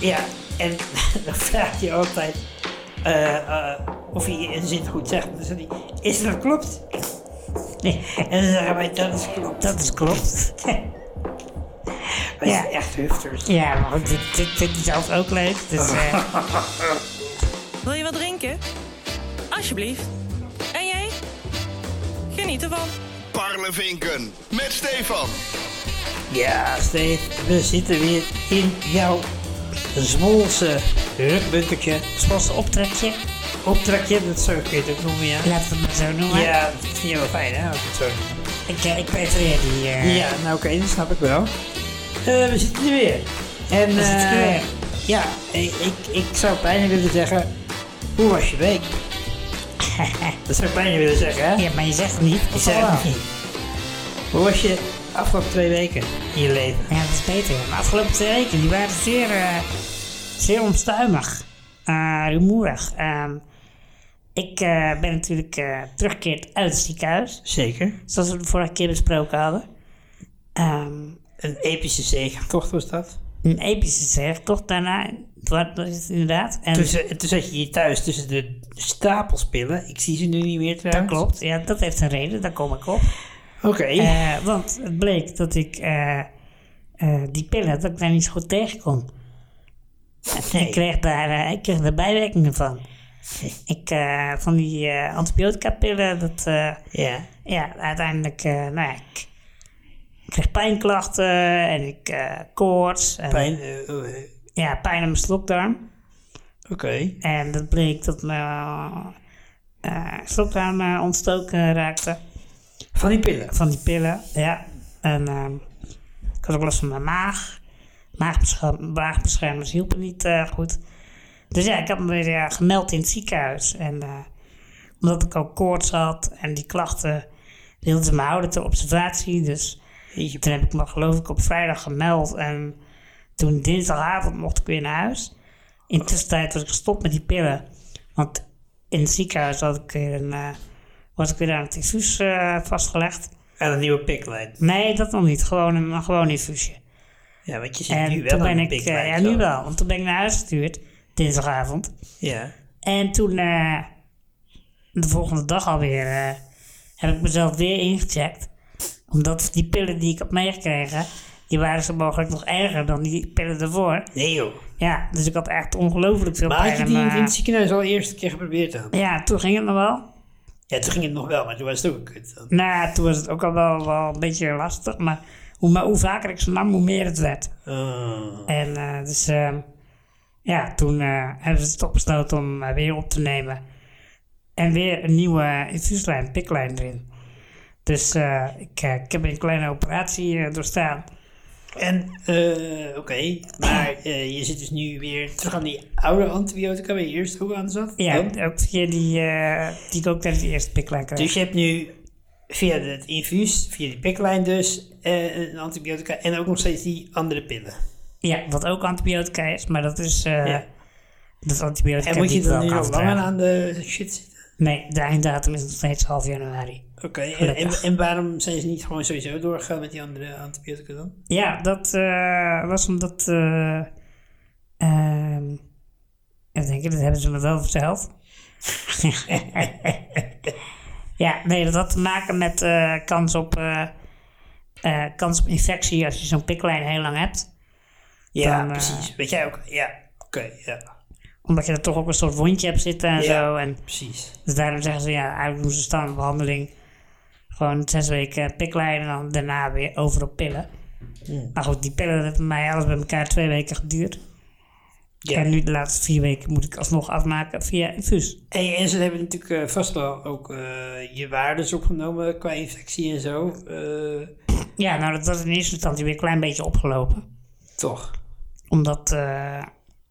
Ja, en dan vraag je altijd eh, eh, of hij een zin goed zegt. Dan zegt hij, is dat klopt? Nee. En dan zeggen wij, dat is klopt. Dat is klopt. Wij Ja. zijn echt hufters. Ja, maar goed, dit, dit vind ik zelf ook leuk. Dus, eh, Wil je wat drinken? Alsjeblieft. En jij? Geniet ervan. Parlevinken met Stefan. Ja, Steve, we zitten weer in jouw Zwolse rukbunkertje. Zwolse optrekje. Optrekje, dat zou ik het ook noemen, ja. Laten we het maar zo noemen. Ja, dat vind je wel fijn, hè, als ik het zo noem. Ik, eh, ik prefereer die. eh, Ja, nou oké, dat snap ik wel. Eh, we zitten er weer. En eh, zitten er weer. ja, ik, ik, ik zou bijna willen zeggen, hoe was je week? dat zou ik bijna willen zeggen, hè? ja, maar je zegt het niet. Ik Ik zeg het zeg niet. Hoe was je afgelopen twee weken in je leven? Ja, dat is beter. De afgelopen twee weken die waren zeer, eh, zeer onstuimig, eh, rumoerig. Ehm, ik eh, ben natuurlijk eh, teruggekeerd uit het ziekenhuis, Zeker. zoals we de vorige keer besproken hadden. Ehm, Een epische zegentocht was dat. een epische zeg, toch daarna? Wat was het inderdaad? En Toen, ze- toen zat je hier thuis tussen de stapels pillen. Ik zie ze nu niet meer dat trouwens. klopt, ja, dat heeft een reden, daar kom ik op. Oké. Eh, want het bleek dat ik eh, eh, die pillen, dat ik daar niet zo goed tegen kon. Nee. Ik, kreeg daar, eh, ik kreeg daar bijwerkingen van. Ik, eh, van die eh, antibiotica-pillen, dat, eh, Ja. ja, uiteindelijk, eh, nou ja, ik kreeg pijnklachten en ik eh, koorts. En, Pijn. eh, eh, Ja, pijn aan mijn slokdarm. Oké. En dat bleek dat mijn eh, slokdarm eh, ontstoken raakte Van die pillen. van die pillen, ja. En ehm, ik had ook last van mijn maag. Maagbescherm- Maagbeschermers hielpen niet eh, goed. Dus ja, ik had me weer eh, gemeld in het ziekenhuis. En eh, omdat ik ook koorts had en die klachten wilden ze me houden ter observatie. Dus Jeetje. toen heb ik me geloof ik op vrijdag gemeld. En toen dinsdagavond mocht ik weer naar huis. Intussen tijd was ik gestopt met die pillen. Want in het ziekenhuis had ik weer een, eh, was ik weer aan het infuus eh, vastgelegd. Aan een nieuwe piklijn. Nee, dat nog niet. Gewoon een, een gewoon infuusje. Ja, want je zit nu En wel toen aan ben een ik, piklijn. eh, ja zo. nu wel, want toen ben ik naar huis gestuurd, dinsdagavond. Ja. En toen, eh, de volgende dag alweer, eh, heb ik mezelf weer ingecheckt. Omdat die pillen die ik had meegekregen, die waren zo mogelijk nog erger dan die pillen ervoor. Nee joh. Ja, dus ik had echt ongelooflijk veel Maar eh, had pijn je aan die mijn- in het ziekenhuis al eerst een keer geprobeerd dan? Ja, toen ging het nog wel. Ja, toen ging het nog wel, maar toen was het ook een kut dan. Nou, toen was het ook al wel, wel een beetje lastig. Maar hoe, maar hoe vaker ik ze nam, hoe meer het werd. Oh. En eh, dus ehm, ja, toen eh, hebben ze toch besloten om eh, weer op te nemen. En weer een nieuwe eh, infuuslijn, piklijn erin. Dus eh, ik, eh, ik heb een kleine operatie eh, doorstaan. En, eh, oké, maar eh, je zit dus nu weer terug aan die oude antibiotica waar je eerst ook aan zat. Ja, Dan? ook via die, eh, die ik ook tijdens de eerste piklijn kreeg. Dus je hebt nu via het infuus, via die piklijn dus, eh, een antibiotica en ook nog steeds die andere pillen. ja, wat ook antibiotica is, maar dat is... eh, Ja. Dat is antibiotica En moet die je ik dan wel nu kan nog langer verdragen. aan de shit zitten? Nee, de einddatum is nog steeds half januari. Oké, en, en, Gelukkig. en waarom zijn ze niet gewoon sowieso doorgegaan met die andere antibiotica dan? Ja, dat eh, was omdat. eh ehm ik denk, dat hebben ze me wel verteld. ja, nee, dat had te maken met eh, kans, op, eh, eh, kans op infectie als je zo'n piklijn heel lang hebt. Ja, Dan, eh, precies. Weet jij ook? Ja, oké, ja, Omdat je er toch ook een soort wondje hebt zitten en Ja. zo. En precies. dus daarom zeggen ze ja, eigenlijk doen ze standaardbehandeling. Gewoon zes weken piklijn en dan daarna weer over op pillen. Maar goed, die pillen dat heeft bij mij alles bij elkaar twee weken geduurd. Ja. En nu de laatste vier weken moet ik alsnog afmaken via infuus. En, en ze hebben natuurlijk eh, vast wel ook eh, je waardes opgenomen qua infectie en zo. eh, Ja, nou dat was in eerste instantie weer een klein beetje opgelopen. toch? Omdat, eh,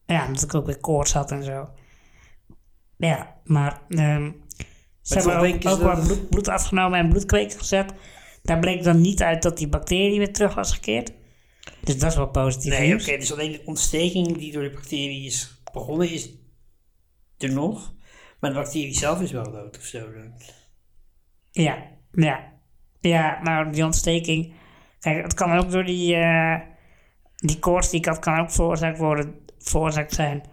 ja, omdat ik ook weer koorts had en zo. Ja, maar ehm, ze toch hebben denken ook, ze ook wel dat- bloed, bloed afgenomen en bloedkweken gezet. Daar bleek dan niet uit dat die bacterie weer terug was gekeerd. Dus dat is wel positief Nee, oké, nieuws. dus alleen de ontsteking die door de bacterie is begonnen is er nog. Maar de bacterie zelf is wel dood of zo. dan. Ja, ja. Ja, nou, die ontsteking. Kijk, het kan ook door die, eh, die koorts die ik had, kan ook veroorzaakt worden veroorzaakt zijn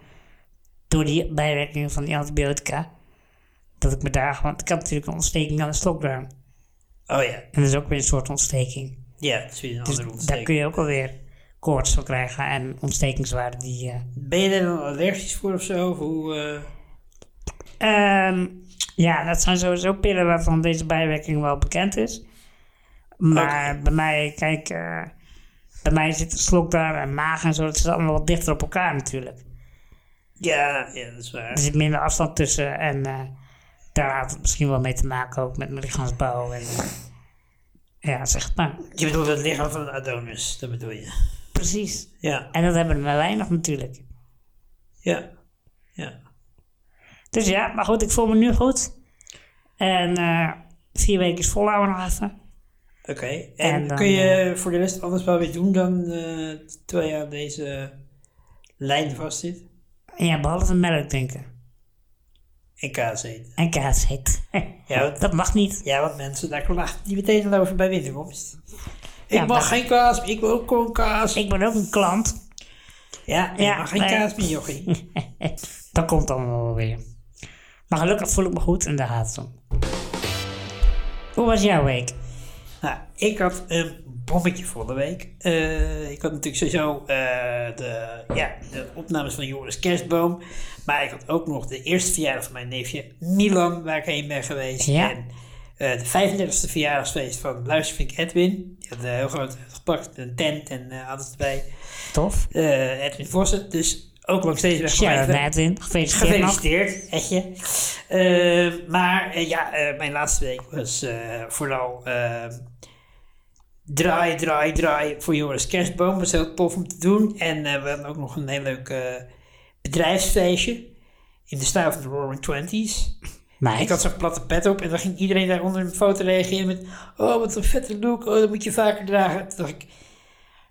door die bijwerkingen van die antibiotica. Dat ik me daar, want ik had natuurlijk een ontsteking aan de slokdarm. Oh ja, En dat is ook weer een soort ontsteking. ja, het is weer een Dus andere daar kun ontsteking. je ook alweer koorts van krijgen en ontstekingswaarden die... eh, Ben je daar dan allergisch voor of zo? Of hoe, eh, Ehm, ja, dat zijn sowieso pillen waarvan deze bijwerking wel bekend is. Maar bij mij, kijk, eh, bij mij zit de slokdarm en maag en zo, dat zit allemaal wat dichter op elkaar natuurlijk. Ja, ja, dat is Er waar. zit minder afstand tussen en eh, daar had het misschien wel mee te maken ook met mijn lichaamsbouw. En, eh, ja, zeg maar. Je bedoelt het lichaam van een Adonis, dat bedoel je. Precies. Ja, En dat hebben we maar weinig natuurlijk. ja, ja. Dus ja, maar goed, ik voel me nu goed. En eh, vier weken is volhouden nog even. Oké, en, En dan, eh, kun je voor de rest alles wel weer doen dan eh, terwijl je aan deze lijn vastzit? En ja, behalve melk denken. En kaas eten. En kaas heet. Ja, want- dat mag niet. Ja, want mensen, daar klagen die meteen al over bij binnenkomst. Ik Ja, mag maar- geen kaas, ik wil ook gewoon kaas. Ik ben ook een klant. ja, ik Ja, mag geen nee. kaas meer, jochie. Dat komt allemaal wel weer. Maar gelukkig voel ik me goed en daar gaat het om. Hoe was jouw week? Nou, ik had een bommetje voor de week. Eh, ik had natuurlijk sowieso eh, de, ja, de opnames van Joris Kerstboom. Maar ik had ook nog de eerste verjaardag van mijn neefje Milan, waar ik heen ben geweest. Ja. En eh, de 35e verjaardagsfeest van Luistervink Edwin. Die had een heel groot gepakt, een tent en eh, alles erbij. Tof. Eh, Edwin Vossen, dus ook langs deze weg. van Sharon mij. Edwin, gefeliciteerd nog. Gefeliciteerd, Etje. Eh, maar eh, ja, eh, mijn laatste week was eh, vooral eh, draai, draai, draai voor Joris Kerstboom. Dat was heel tof om te doen. En eh, we hadden ook nog een heel leuk eh, bedrijfsfeestje in de stijl van de Roaring Twenties. Nice. Ik had zo'n platte pet op en dan ging iedereen daaronder een foto reageren met... Oh, wat een vette look. Oh, dat moet je vaker dragen. Toen dacht ik...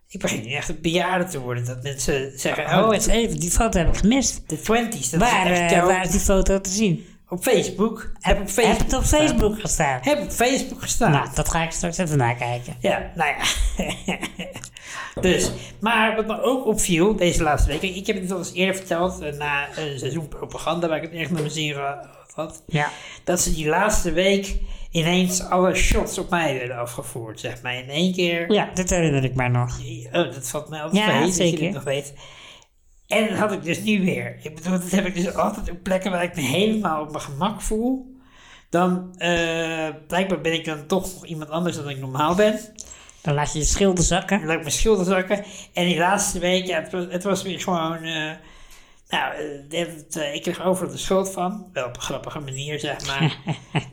Ik begin nu echt een bejaarde te worden. Dat mensen zeggen... Oh, Oh, eens even, die foto heb ik gemist. de twenties. Dat Waar, is echt eh, jouw- waar is die foto te zien? op Facebook. Heb op Heb Facebook, het op gestaan. Facebook gestaan? Heb op Facebook gestaan. Nou, dat ga ik straks even nakijken. Ja, nou ja. dus, maar wat me ook opviel deze laatste week. kijk, Ik heb het al eens eerder verteld eh, na een seizoen propaganda waar ik het echt naar mijn zin gehad had. Ja. Dat ze die laatste week ineens alle shots op mij werden afgevoerd. Zeg maar in één keer. Ja, dit herinner ik mij nog. Oh, dat valt mij altijd Ja, mee, dat zeker. je dit nog weet. En dat had ik dus nu weer. Ik bedoel, dat heb ik dus altijd op plekken waar ik me helemaal op mijn gemak voel. Dan, eh, blijkbaar ben ik dan toch nog iemand anders dan ik normaal ben. Dan laat je je schilder zakken. Dan laat ik mijn schilder zakken. En die laatste week, ja, het, was, het was weer gewoon... eh, nou, eh, dit, eh, ik kreeg overal de schuld van. Wel op een grappige manier, zeg maar.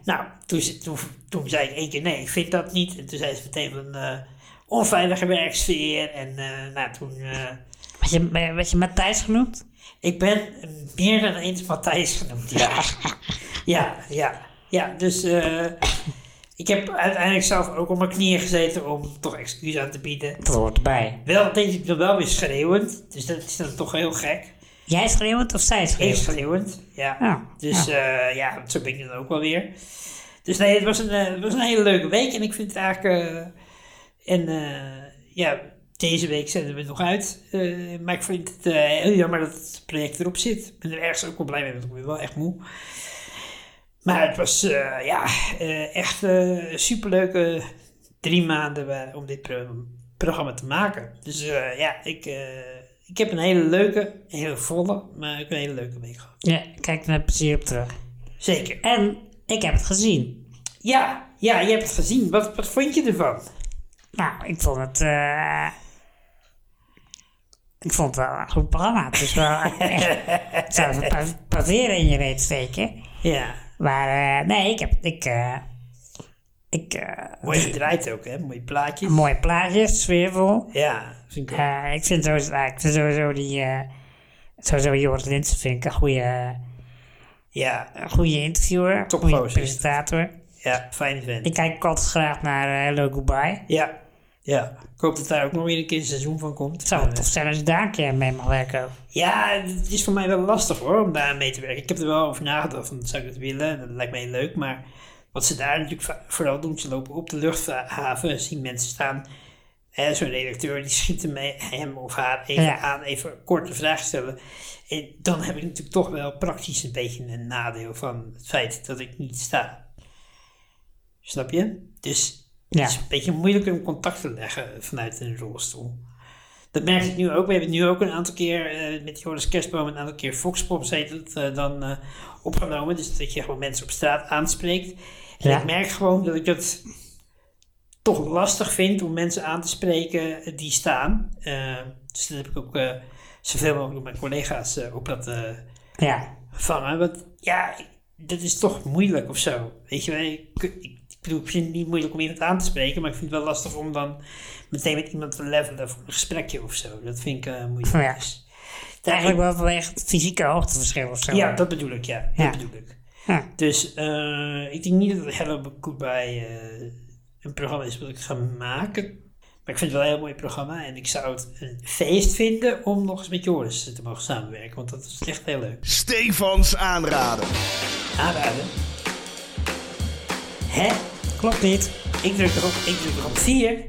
nou, toen, ze- toen, toen zei ik één keer, nee, ik vind dat niet. En toen zei ze meteen van... eh, onveilige werksfeer. En eh, nou, toen... eh, Werd je, werd je Matthijs genoemd? ik ben meer dan eens Matthijs genoemd, ja. ja, ja, ja. Dus eh, ik heb uiteindelijk zelf ook op mijn knieën gezeten om toch excuus aan te bieden. Dat hoort erbij. Wel, denk ik dan wel weer schreeuwend. Dus dat is dan toch heel gek. Jij schreeuwt of zij Heel schreeuwt? schreeuwend, ja. Ja, Dus ja. ja, zo ben ik dan ook wel weer. Dus nee, het was een, eh, het was een hele leuke week. En ik vind het eigenlijk... eh, en eh, ja, deze week zenden we het nog uit. Eh, maar ik vind het eh, heel jammer dat het project erop zit. Ik ben er ergens ook wel blij mee, want ik ben wel echt moe. Maar het was eh, ja, eh, echt eh superleuke drie maanden waar- om dit pro- programma te maken. Dus eh, ja, ik, eh, ik heb een hele leuke, een hele volle, maar ook een hele leuke week gehad. Ja, kijk er met plezier op terug. Zeker. En ik heb het gezien. Ja, ja, je hebt het gezien. Wat, wat vond je ervan? Nou, ik vond het. eh, ik vond het wel een goed programma. Het is wel. ik zou even pa- paveren in je reet steken. Ja, Maar eh, nee, ik heb. Ik, eh, ik, eh, mooi gedraaid ook, hè? Mooie plaatjes. mooie plaatjes, sfeervol. Ja, vind ik ook. Eh, ik, vind sowieso, nou, ik vind sowieso die. eh, sowieso Joris Linsen vind ik een goede, Ja, een goede interviewer. Topgozer goede is het. presentator. ja, fijn vent. Ik kijk ook altijd graag naar eh, Hello Goodbye. Ja, ja. Ik hoop dat daar ook nog weer een keer een seizoen van komt. Het zou wel tof zijn als je daar een keer mee mag werken ook. Ja, het is voor mij wel lastig hoor, om daar aan mee te werken. Ik heb er wel over nagedacht, van zou ik het willen? En Dat lijkt mij leuk, maar wat ze daar natuurlijk va- vooral doen, ze lopen op de luchthaven, zien mensen staan Hè, Zo'n redacteur die schiet hem, hem of haar even Ja. aan, even kort een vraag stellen. En dan heb ik natuurlijk toch wel praktisch een beetje een nadeel van het feit dat ik niet sta. Snap je? Dus Ja. het is een beetje moeilijk om contact te leggen vanuit een rolstoel. Dat merk ik nu ook. We hebben nu ook een aantal keer eh, met Joris Kerstboom een aantal keer Foxpops heet het eh, dan eh, opgenomen. Dus dat je gewoon mensen op straat aanspreekt. En Ja. ik merk gewoon dat ik dat toch lastig vind om mensen aan te spreken die staan. Eh, dus dat heb ik ook eh, zoveel mogelijk met mijn collega's eh, op dat eh, Ja. vangen. Want ja, ik- dat is toch moeilijk of zo. Weet je wel, ik, ik, ik bedoel, ik vind het niet moeilijk om iemand aan te spreken, maar ik vind het wel lastig om dan meteen met iemand te levelen voor een gesprekje of zo. Dat vind ik eh, moeilijk. Ja. Dus, Eigenlijk wel vanwege het fysieke hoogteverschil of zo. ja, dat bedoel ik, ja. Dat Ja. bedoel ik. Ja. Dus eh, ik denk niet dat Hello Goodbye eh een programma is wat ik ga maken. Maar ik vind het wel een heel mooi programma. En ik zou het een feest vinden om nog eens met Joris te mogen samenwerken. Want dat is echt heel leuk. Stefans aanraden. Aanraden. Hè? Klopt niet. Ik druk erop, ik druk erop 4.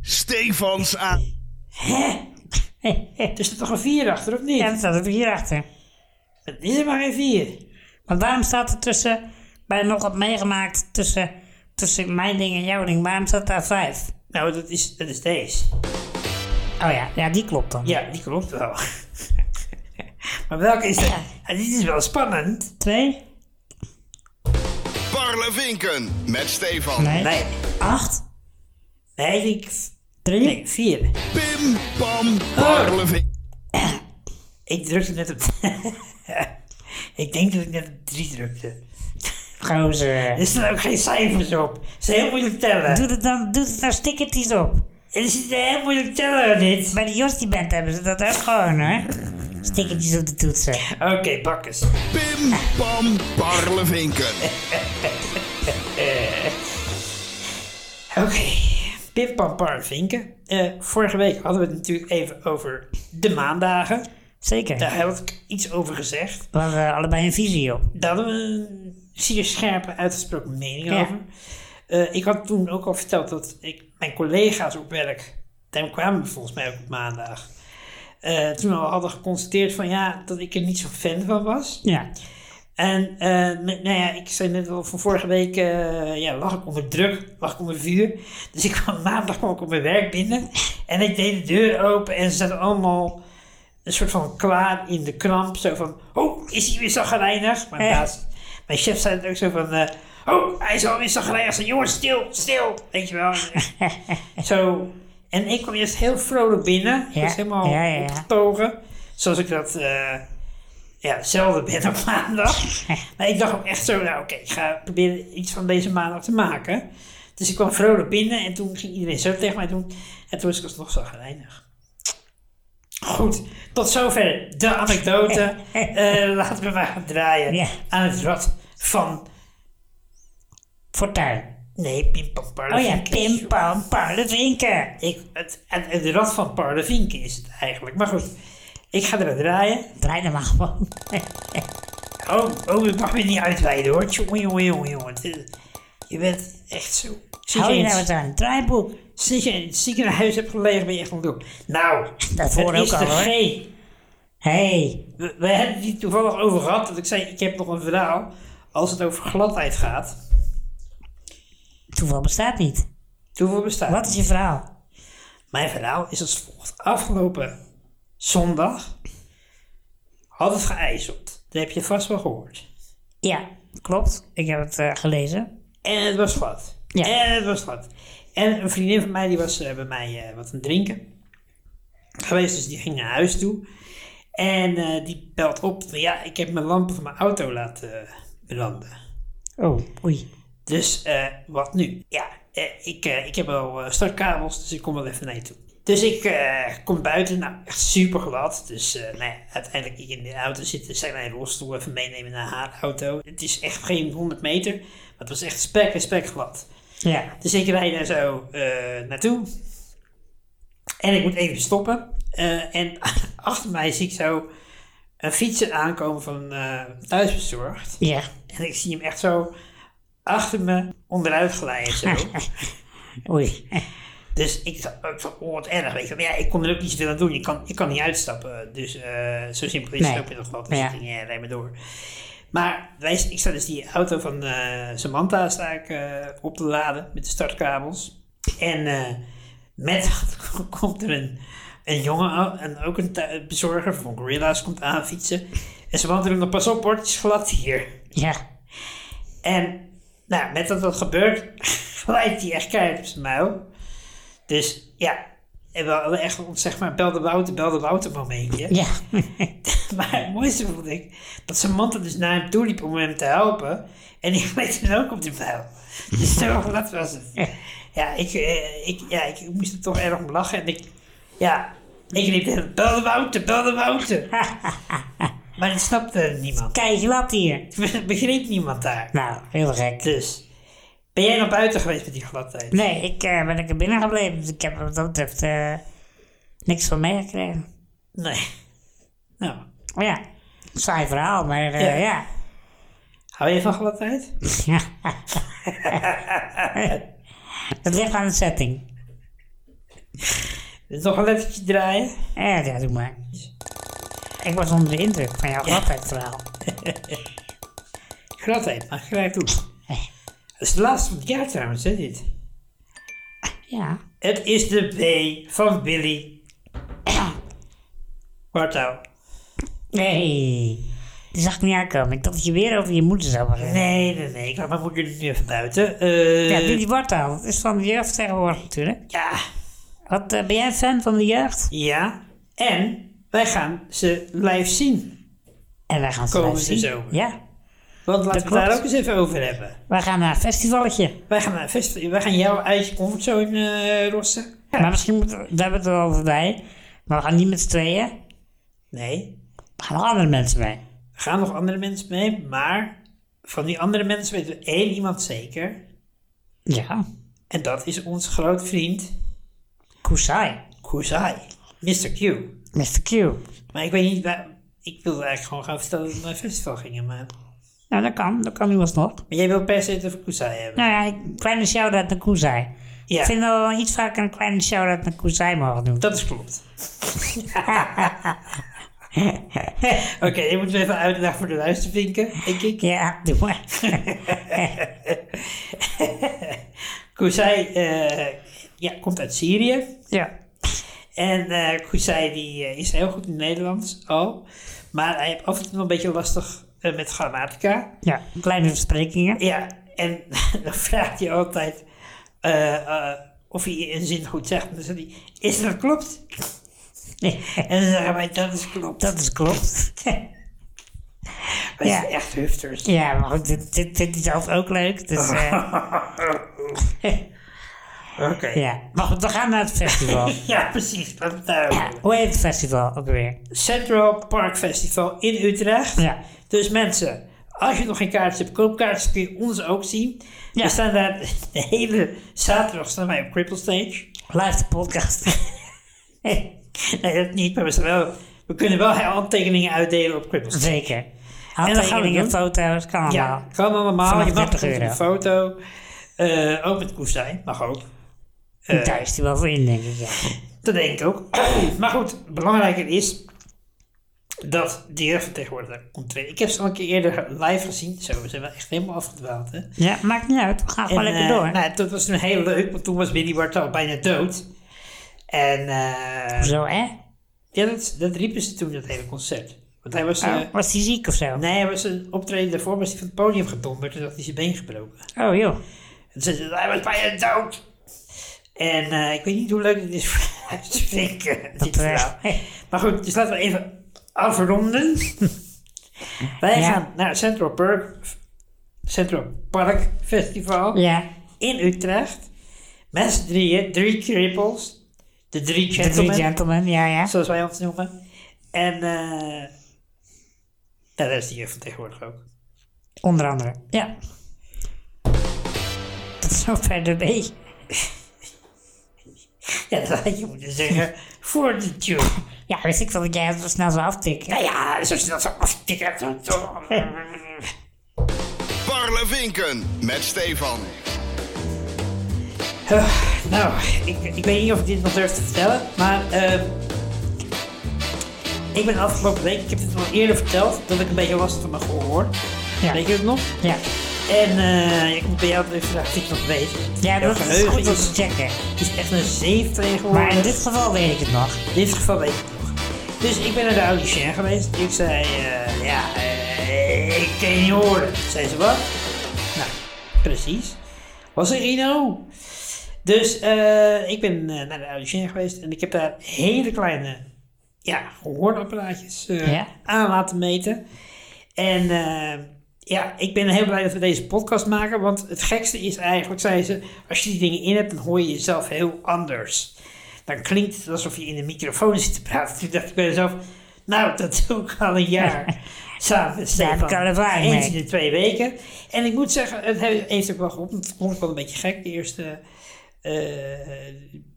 Stefans aan. Hè? Er staat toch een 4 achter, of niet? Ja, dat staat er hierachter. Het is er maar geen 4. Maar waarom staat er tussen, bij nog wat meegemaakt tussen, tussen mijn ding en jouw ding, waarom staat daar vijf? Nou, dat is, dat is deze. Oh ja, ja die klopt dan. Ja, die klopt wel. maar welke is dat? Ja, dit is wel spannend. Twee? Parlevinken met Stefan. Nee. Nee, Acht? nee, ik... Drie? Nee, 4. Pim, pam, parlevinken. Ik drukte net op. ik denk dat ik net op 3 drukte. Gozer. Er staan ook geen cijfers op. Het is heel moeilijk tellen. Doe het dan, doe het nou stickertjes op. Er zit een heel moeilijk tellen aan dit. Bij de Jostie Band hebben ze dat ook gewoon hoor. Stickertjes op de toetsen. Oké, bakkers. Pim, pam, parlevinken. Oké. Pim Pam Parm Vinken. Eh, vorige week hadden we het natuurlijk even over de maandagen. Zeker. Daar had ik iets over gezegd. We hadden allebei een visie op. Daar hadden we een zeer scherpe, uitgesproken mening Ja. over. Eh, ik had toen ook al verteld dat ik mijn collega's op werk, daar kwamen we volgens mij ook op maandag, eh, toen al hadden geconstateerd van ja, dat ik er niet zo fan van was. Ja. En eh, met- nou ja, ik zei net al van vorige week, eh, ja, lag ik onder druk, lag ik onder vuur. Dus ik kwam maandag kwam ik op mijn werk binnen en ik deed de deur open en ze zaten allemaal een soort van klaar in de kramp. Zo van, oh, is hij weer zagrijnig? Mijn Eh. baas, mijn chef zei het ook zo van, eh, oh, hij is alweer zagrijnig. Zo, jongens, stil, stil, weet je wel. zo, en ik kwam eerst heel vrolijk binnen, Ja, dus helemaal ja, ja, ja. opgetogen, zoals ik dat... eh, ja, zelden ben op maandag. Maar ik dacht ook echt zo, nou oké, ik ga proberen iets van deze maandag te maken. Dus ik kwam vrolijk binnen en toen ging iedereen zo tegen mij doen. En toen was ik alsnog zo gereinig. Goed, tot zover de anekdote. Eh, laten we maar gaan draaien Ja. aan het rad van... Fortuin. Nee, Pim Pam Oh ja, Parlevinken. pim pam parlevinken. Ik, het, het, het rad van Parlevinken is het eigenlijk. Maar goed, ik ga eraan draaien. Draai er maar gewoon. Oh, oh, ik mag weer niet uitweiden hoor. Jongen, jongen, jongen, jongen. Dit- eh, Je bent echt zo. Sinds Hou je je in nou het- eens aan het draaiboek? sinds je in het ziekenhuis hebt gelegen ben je echt een doel. Nou, Dat hoor het is ook al de G. hoor. Hey. We, we hebben het hier toevallig over gehad. Dat ik zei, ik heb nog een verhaal. Als het over gladheid gaat. Toeval bestaat niet. Toeval bestaat. Wat is je verhaal? Mijn verhaal is als volgt. Afgelopen zondag had het geijzeld. Dat heb je vast wel gehoord. Ja, klopt. Ik heb het eh, gelezen. En het was glad. Ja. En het was glad. En een vriendin van mij die was eh, bij mij eh, wat aan het drinken geweest. Dus die ging naar huis toe. En eh, die belt op. van, Ja, ik heb mijn lamp van mijn auto laten eh, branden. Oh, oei. Dus eh, wat nu? Ja, eh, ik, eh, ik heb al eh, startkabels, dus ik kom wel even naar je toe. Dus ik eh, kom buiten, nou echt super glad. Dus eh, nou ja, uiteindelijk ik in de auto zitten, zij mijn rolstoel even meenemen naar haar auto. Het is echt geen 100 meter, maar het was echt spek en spek glad. Ja. Dus ik rijd daar zo eh, naartoe. En ik moet even stoppen. Eh, en achter mij zie ik zo een fietser aankomen van eh thuisbezorgd. Ja. En ik zie hem echt zo achter me onderuit glijden. Zo. Oei. Dus ik dacht, ik dacht, oh, wat erg, weet je. Maar ja, ik kon er ook niet zoveel aan doen. Je kan, je kan niet uitstappen. Dus eh, zo simpel is Nee. het ook in dat geval. Ja. Dus ik ging, eh, rijd maar door. Maar wij, ik sta dus die auto van eh, Samantha sta ik, eh, op te laden met de startkabels. En eh, met komt er een, een jongen, aan- en ook een tu- bezorger van Gorilla's, komt aanfietsen. En Samantha doet nog pas op, bordjes glad hier. Ja. En nou, met dat wat gebeurt, glijdt hij echt keihard op zijn muil. Dus ja, en we hadden echt ons zeg maar belde Wouter, belde Wouter momentje. Ja. Maar het mooiste vond ik dat zijn mantel dus naar hem toe liep om hem te helpen. En die gleed dan ook op die vuil. Dus zo glad was het. Ja ik, eh, ik, ja, ik moest er toch erg om lachen. En ik, ja, ik riep tegen belde Wouter, belde Wouter. maar dat snapte niemand. Kijk, wat hier. Begreep niemand daar. Nou, heel gek. Dus, ben jij nog buiten geweest met die gladheid? Nee, ik eh, ben lekker binnen gebleven. Dus ik heb wat dat betreft eh, niks van meegekregen. Nee. Nou, Ja. Saai verhaal, maar eh, Ja. ja. hou je van gladheid? Ja. Het ligt aan de setting. Dus nog een lettertje draaien? Ja, ja, doe maar. Ik was onder de indruk van jouw gladheidsverhaal. Gladheid, maar gelijk toe. Dat is de laatste van het jaar trouwens, hè, dit. Ja. Het is de B van Billy. Wartouw. Nee. Die zag ik niet aankomen. Ik dacht dat je weer over je moeder zou beginnen. Nee, nee, nee, ik laat mijn moeder nu even buiten. Eh, Ja, Billy Bartaal. Dat is van de jeugd tegenwoordig natuurlijk. ja, Wat, eh, ben jij fan van de jeugd? ja. En wij gaan ze live zien. En wij gaan ze Komende live zien. zomer. Ja. Want laten we het daar klopt. ook eens even over hebben. Wij gaan naar een festivaletje. Wij gaan, naar een festival- wij gaan jouw eigen comfortzone eh rossen. Maar misschien moeten we, daar hebben we het er wel over bij. Maar we gaan niet met z'n tweeën. Nee, Er gaan wel andere mensen mee. Er gaan nog andere mensen mee, maar van die andere mensen weten we één iemand zeker. Ja. En dat is onze grote vriend Kusai. Kusai, Mr. Q. Mr. Q. Maar ik weet niet, waar- ik wilde eigenlijk gewoon gaan vertellen dat we naar een festival gingen, maar, Nou, dat kan. Dat kan nu alsnog. maar jij wil per se het over Kusai hebben. Nou ja, een kleine shout-out naar Kusai. Ja. Ik vind dat we wel iets vaker een kleine shout-out naar Kusai mogen doen. Dat is klopt. Oké, ik moet even uitleggen voor de luistervinken, denk ik. Ja, doe maar. Kusai eh, ja, komt uit Syrië. Ja. En eh Kusai die, eh, is heel goed in het Nederlands al. Maar hij heeft af en toe nog een beetje lastig eh, met grammatica. Ja, kleine versprekingen. Ja, en dan vraagt hij altijd eh, eh, of hij een zin goed zegt. En dan zegt hij, is dat klopt? En dan zeggen wij, dat is klopt. Dat is klopt. Wij ja. zijn echt hufters. Ja, maar goed, dit, dit vindt hij zelf ook leuk. Dus eh, Oké. Ja. ja. Maar goed, we gaan naar het festival. precies. Laten we het daarover hebben. Hoe heet het festival ook weer? Central Park Festival in Utrecht. Ja. Dus mensen, als je nog geen kaartjes hebt, koop kaartjes, kun je ons ook zien. Ja. We staan daar de hele zaterdag staan wij op Cripple Stage. Live de podcast. Nee, dat niet, maar we, staan wel, we kunnen wel handtekeningen uitdelen op Cripple Stage. Zeker. doen. Handtekeningen, foto's, kan allemaal. Ja, kan allemaal. Vanaf Je mag 30 met een euro. foto. Eh, ook met Koestijn, mag ook. eh. Ja. Daar is hij wel voor in, denk ik. Ja. Dat denk ik ook. maar goed, belangrijker is dat de jeugdvertegenwoordiger komt trainen. Ik heb ze al een keer eerder live gezien. Zo, we zijn wel echt helemaal afgedwaald, hè? ja, maakt niet uit. We gaan gewoon En, lekker eh, door. nou, dat was toen heel leuk, want toen was Willy Bartel bijna dood. En eh, Zo, hè? ja, dat, dat riepen ze toen, dat hele concert. Want hij was, eh, Oh, was hij ziek of zo? nee, hij was een optreden daarvoor, was hij van het podium gedonderd en had hij zijn been gebroken. Oh, joh. En ze zei, hij was bijna dood. En eh, ik weet niet hoe leuk het is voor uit te vinken, dit eh, verhaal. Maar goed, dus laten we even afronden. Wij Ja. gaan naar Central Park, Central Park Festival Ja. in Utrecht. Met z'n drieën, drie cripples. De drie De gentlemen, drie gentlemen, ja, ja. zoals wij ons noemen. En eh dat is die van tegenwoordig ook. Onder andere. Ja. Tot zover de B. Ja, dat had je moeten zeggen. Voor de tune. Ja, wist ik wel dat jij het zo snel zou aftikken. Nou ja, zoals je dat zo aftikt. Parlevinken met Stefan. Nou, ik, ik weet niet of ik dit nog durf te vertellen, maar ehm, ik ben afgelopen week, ik heb dit al eerder verteld, dat ik een beetje last van mijn gehoor. Ja. Weet je het nog? Ja. En eh, ik moet bij jou even vragen of je het nog weet. Ja, Jouw dat is geheugen goed om is, te checken. is echt een zeef tegenwoordig. Maar in dit geval weet ik het nog. In dit geval weet ik het nog. Dus ik ben naar de audition geweest. Ik zei, eh, ja, eh, ik kan je niet horen. Zei ze, wat? Nou, precies. Was een Rino. Dus eh, ik ben eh, naar de audition geweest en ik heb daar hele kleine ja, gehoorapparaatjes eh, Ja. aan laten meten. En eh, ja, ik ben heel blij dat we deze podcast maken, want het gekste is eigenlijk, zei ze, als je die dingen in hebt, dan hoor je jezelf heel anders. Dan klinkt het alsof je in de microfoon zit te praten. Toen dacht ik bij mezelf, nou, dat doe ik al een jaar. Samen met Stefan. kan er waar Eens mee. in de twee weken. En ik moet zeggen, het he- heeft ook wel geholpen. want Het klonk wel een beetje gek, de eerste eh,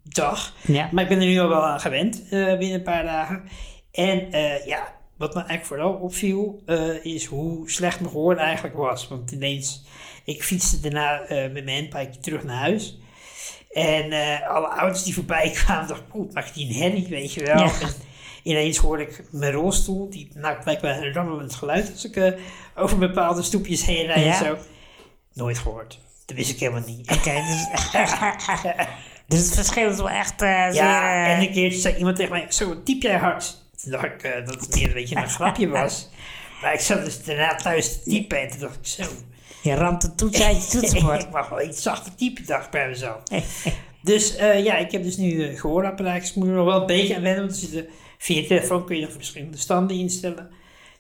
dag. Ja. Maar ik ben er nu al wel aan gewend eh, binnen een paar dagen. En eh, ja, wat me eigenlijk vooral opviel, eh, is hoe slecht mijn gehoor eigenlijk was. Want ineens, ik fietste daarna eh, met mijn handbike terug naar huis. En eh, alle auto's die voorbij kwamen, dacht ik, oeh, mag die een herrie, weet je wel. Ja. En ineens hoorde ik mijn rolstoel, die maakt blijkbaar een rammelend geluid als ik eh, over bepaalde stoepjes heen rijd Ja. en zo. Nooit gehoord. Dat wist ik helemaal niet. Oké, dus, dus het verschil is wel echt eh, zeer... Ja, eh, en een keertje zei iemand tegen mij, zo, wat typ jij hard? Toen dacht ik eh, dat het meer een beetje een grapje was. Maar ik zat dus daarna thuis te typen en toen dacht ik, zo, Je ramt het toets uit je toetsenbord. ik mag wel iets zachter typen, dacht ik bij mezelf. Dus eh, ja, ik heb dus nu eh gehoorapparaatjes. Ik moet er nog wel een beetje aan wennen, want er zitten, via je telefoon kun je nog verschillende standen instellen.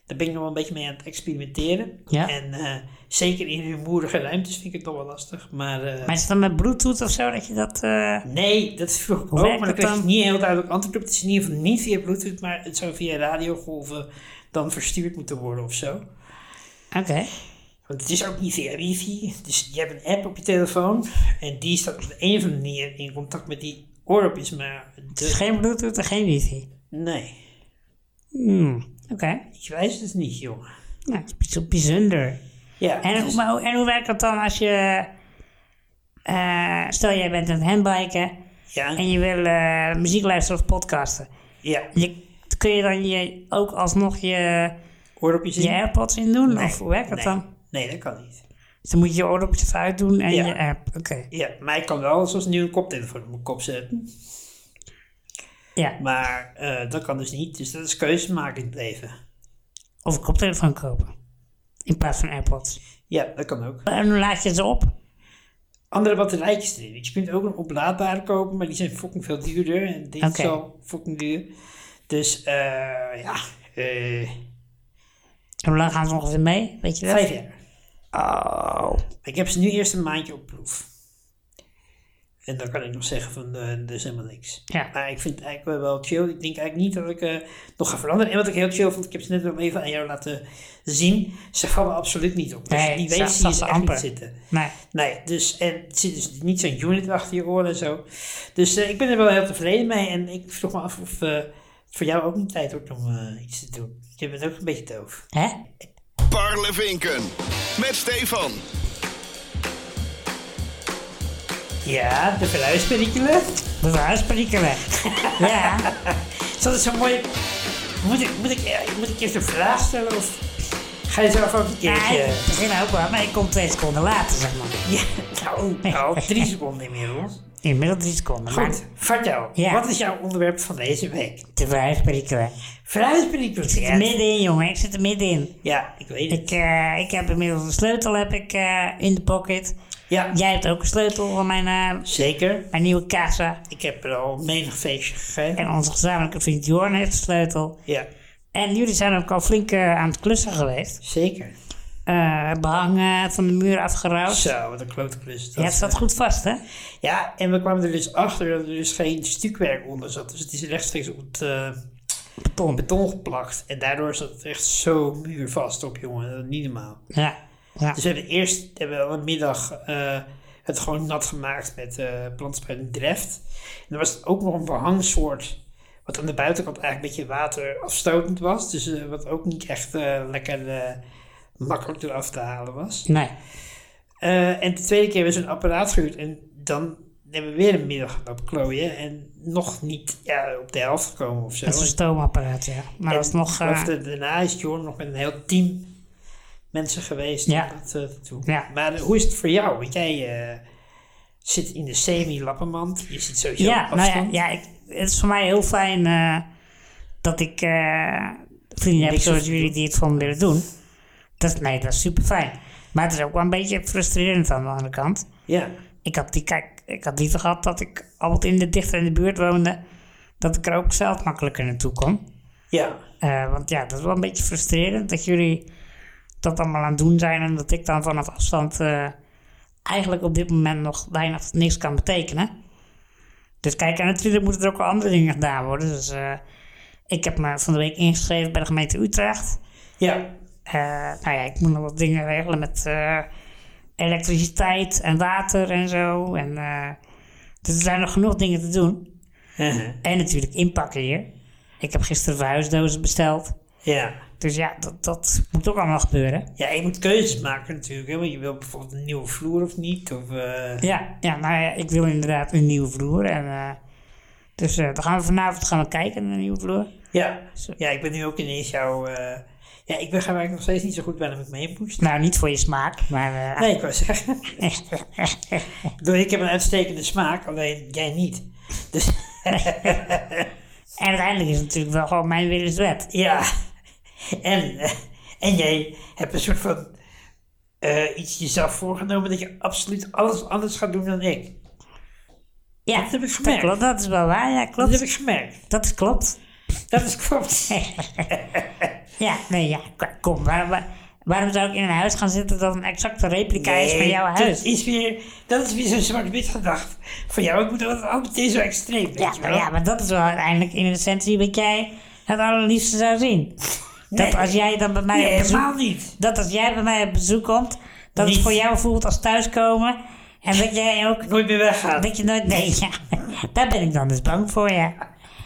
Daar ben ik nog wel een beetje mee aan het experimenteren. Ja. En eh, zeker in rumoerige ruimtes vind ik het nog wel lastig. Maar, eh, Maar is het dan met Bluetooth of zo dat je dat... eh, nee, dat vroeg ik Hoe ook, werkt maar dan dat kreeg ik dan? niet heel duidelijk antwoord op. Het is in ieder geval niet via Bluetooth, maar het zou via radiogolven dan verstuurd moeten worden of zo. Oké. Want het is ook niet via wifi. Dus je hebt een app op je telefoon. En die staat op de een of andere manier in contact met die oordopjes. Maar Het is de... geen Bluetooth en geen wifi. Nee, Hmm. Oké. ik wijs het dus niet, jongen. Nou, dat is bijz- bijzonder. Ja, En, dus- hoe- maar hoe- en hoe werkt dat dan als je... eh, stel, jij bent aan het handbiken ja, en je wil eh, muziek luisteren of podcasten. ja. Je, kun je dan je, ook alsnog je, oordopjes in? je AirPods in doen? Nee, Of hoe werkt dat nee. dan? Nee, dat kan niet. Dus dan moet je je oordopjes even uitdoen en Ja. je app. Oké. Ja, maar ik kan wel zoals nu een koptelefoon op mijn kop zetten. Ja. Maar eh, dat kan dus niet. Dus dat is keuze maken in het leven. Of een koptelefoon kopen. In plaats van AirPods. Ja, dat kan ook. En dan laat je ze op. Andere batterijtjes erin. Je kunt ook een oplaadbare kopen, maar die zijn fucking veel duurder. En dit Oké. is al fucking duur. Dus eh ja, eh, En hoe lang gaan ze ongeveer mee? Weet je dat? vijf jaar. Oh. Ik heb ze nu eerst een maandje op proef. En dan kan ik nog zeggen van, eh er is helemaal niks. Ja. Maar ik vind het eigenlijk wel wel chill. Ik denk eigenlijk niet dat ik eh, nog ga veranderen. En wat ik heel chill vond, ik heb ze net nog even aan jou laten zien. Ze vallen absoluut niet op. Als je Nee, die ze- weet, ze- zie je ze ze echt niet amper. zitten. Nee. Nee, dus en het zit dus niet zo'n unit achter je oren en zo. Dus eh, ik ben er wel heel tevreden mee. En ik vroeg me af of eh, het voor jou ook niet tijd wordt om eh, iets te doen. Je bent ook een beetje doof. Hè? Parlevinken. Met Stefan. Ja, de verhuisperikelen. Dat huisperikelen weg. ja. Dat is zo mooi. Moet ik, moet, ik, eh, moet ik eerst een vraag stellen of ga je zelf ook een Ja, keertje? ik begin ook wel, maar ik kom twee seconden later, zeg maar. Ja, nou, nou, drie seconden inmiddels. Inmiddels drie seconden. maar Goed, vertel. Ja. Wat is jouw onderwerp van deze week? De verhuisperikelen. Verhuisperikelen. Ik zit er middenin, jongen. Ik zit er middenin. Ja, ik weet het. Ik, eh, ik heb inmiddels een sleutel heb ik, eh, in de pocket. Ja, Jij hebt ook een sleutel van mijn, eh, zeker. mijn nieuwe casa. Ik heb er al menig feestje gegeven. En onze gezamenlijke vriend Jorn heeft de sleutel. Ja, En jullie zijn ook al flink eh, aan het klussen geweest. zeker. Eh behang eh, van de muur afgerouwd. Zo, wat een klote klus. is eh, Ja, dat. het staat goed vast, hè? Ja, en we kwamen er dus achter dat er dus geen stukwerk onder zat. Dus het is rechtstreeks op het... eh, Beton. beton geplakt. En daardoor zat het echt zo muurvast op, jongen. Dat is niet normaal. Ja. ja. Dus we hebben eerst hebben we al een middag eh, het gewoon nat gemaakt met eh plantspuiting dreft. En er was ook nog een behangsoort wat aan de buitenkant eigenlijk een beetje waterafstotend was. Dus eh, wat ook niet echt eh, lekker eh, makkelijk eraf te halen was. Nee. Eh, en de tweede keer hebben ze een apparaat gehuurd. En dan hebben we weer een middag op klooien en nog niet ja, op de helft gekomen of zo. Dat is een stoomapparaat, ja. Maar En dat is nog... ik geloof eh, dat daarna is Jorn nog met een heel team mensen geweest. Ja. om Dat, eh, te doen. Ja. Maar eh, hoe is het voor jou? Want jij eh, zit in de semi-lappenmand. Je zit sowieso ja, op nou ja, afstand. ja ik, het is voor mij heel fijn eh, dat ik eh, vrienden heb Niks zoals hoeft te jullie doen. die het voor me willen doen. Dat, nee, dat is super fijn. Maar het is ook wel een beetje frustrerend aan de andere kant. ja. Ik had, die, kijk, ik had liever gehad dat ik altijd in de dichter in de buurt woonde, dat ik er ook zelf makkelijker naartoe kon. Ja. Eh, want ja, dat is wel een beetje frustrerend dat jullie dat allemaal aan het doen zijn en dat ik dan vanaf afstand eh, eigenlijk op dit moment nog weinig tot niks kan betekenen. Dus kijk, en natuurlijk moeten er ook wel andere dingen gedaan worden. Dus eh, ik heb me van de week ingeschreven bij de gemeente Utrecht. Ja. Eh, nou ja, ik moet nog wat dingen regelen met eh, elektriciteit en water en zo. En, eh, dus er zijn nog genoeg dingen te doen. Uh-huh. En natuurlijk inpakken hier. Ik heb gisteren verhuisdozen besteld. ja. Dus ja, dat, dat moet ook allemaal gebeuren. Ja, je moet keuzes maken natuurlijk. Hè, want je wil bijvoorbeeld een nieuwe vloer of niet. Of, eh, Ja, ja nou ja, ik wil inderdaad een nieuwe vloer. En, eh, dus eh, dan gaan we vanavond gaan we kijken naar een nieuwe vloer. ja. Zo. ja, ik ben nu ook ineens jouw... eh, ja, ik begrijp eigenlijk nog steeds niet zo goed waarom ik mee moest. Nou, niet voor je smaak, maar... eh, Nee, ik wou zeggen. ik, bedoel, ik heb een uitstekende smaak, alleen jij niet. Dus En uiteindelijk is het natuurlijk wel gewoon mijn wil is wet. Ja, en, eh, en jij hebt een soort van eh, iets jezelf voorgenomen dat je absoluut alles anders gaat doen dan ik. Ja, Dat heb ik dat gemerkt. Dat, klopt. Dat is wel waar, ja, klopt. heb ik gemerkt. Dat is klopt. Dat is klopt. Ja, nee, ja, k- kom. Waarom, waar- waarom zou ik in een huis gaan zitten dat een exacte replica is van jouw huis? Dat is weer, dat is weer zo'n zwart-wit gedacht. Van jou, ik moet altijd altijd het is zo extreem. weet Ja, je maar, wel. ja, maar dat is wel uiteindelijk in essentie wat jij het allerliefste zou zien. Dat Nee. als jij dan bij mij Nee, op bezoek- helemaal niet. dat als jij bij mij op bezoek komt, dat Niet. het voor jou voelt als thuiskomen. En dat jij ook, Nooit meer weggaan. dat je nooit, nee, ja, daar ben ik dan dus bang voor, ja.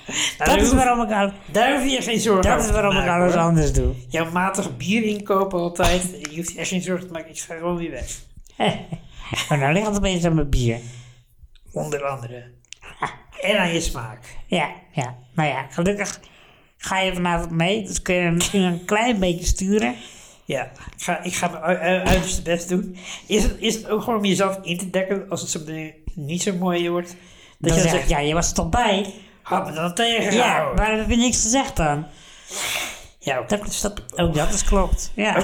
Nou, Dat daar is hoef- waarom ik, al, Daar hoef je geen zorgen dat over is te waarom ik maken, alles hoor. anders doe. Jouw matig bier inkopen altijd. Je hoeft je echt geen zorgen te maken. Ik ga gewoon weer weg. Maar nou ligt het opeens aan mijn bier. Onder andere. En aan je smaak. Ja, ja. Nou ja, gelukkig ga je vanavond mee. Dus kun je misschien een klein beetje sturen. Ja, ik ga, ik ga mijn u- u- uiterste best doen. Is het, is het ook gewoon om jezelf in te dekken als het zo meteen niet zo mooi wordt? Dat je Dan zeg dan ik, zegt, ja, je was er toch bij? had me dan Ja, tegengehouden. waarom heb je niks gezegd dan? Ja, oké. Dat is dat, Oh, ook dat is klopt. Ja.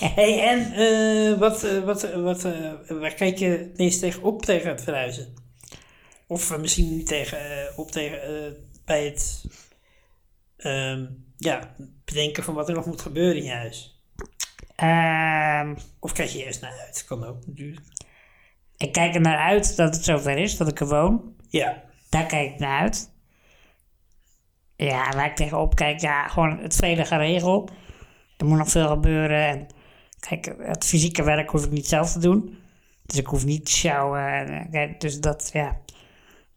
hey, en eh, wat, eh, wat, eh, wat, eh, waar kijk je het meest tegen op tegen het verhuizen? Of eh, misschien niet tegen, eh, op tegen eh, bij het ehm, ja, bedenken van wat er nog moet gebeuren in je huis. Ehm, Of kijk je eerst naar uit, kan ook natuurlijk. ik kijk er naar uit dat het zover is, dat ik er woon. Ja, Daar kijk ik naar uit. Ja, en waar ik tegenop kijk, ja, gewoon het vele geregel. Er moet nog veel gebeuren. En kijk, het fysieke werk hoef ik niet zelf te doen. Dus ik hoef niet te sjouwen. en, eh, kijk, Dus dat, ja,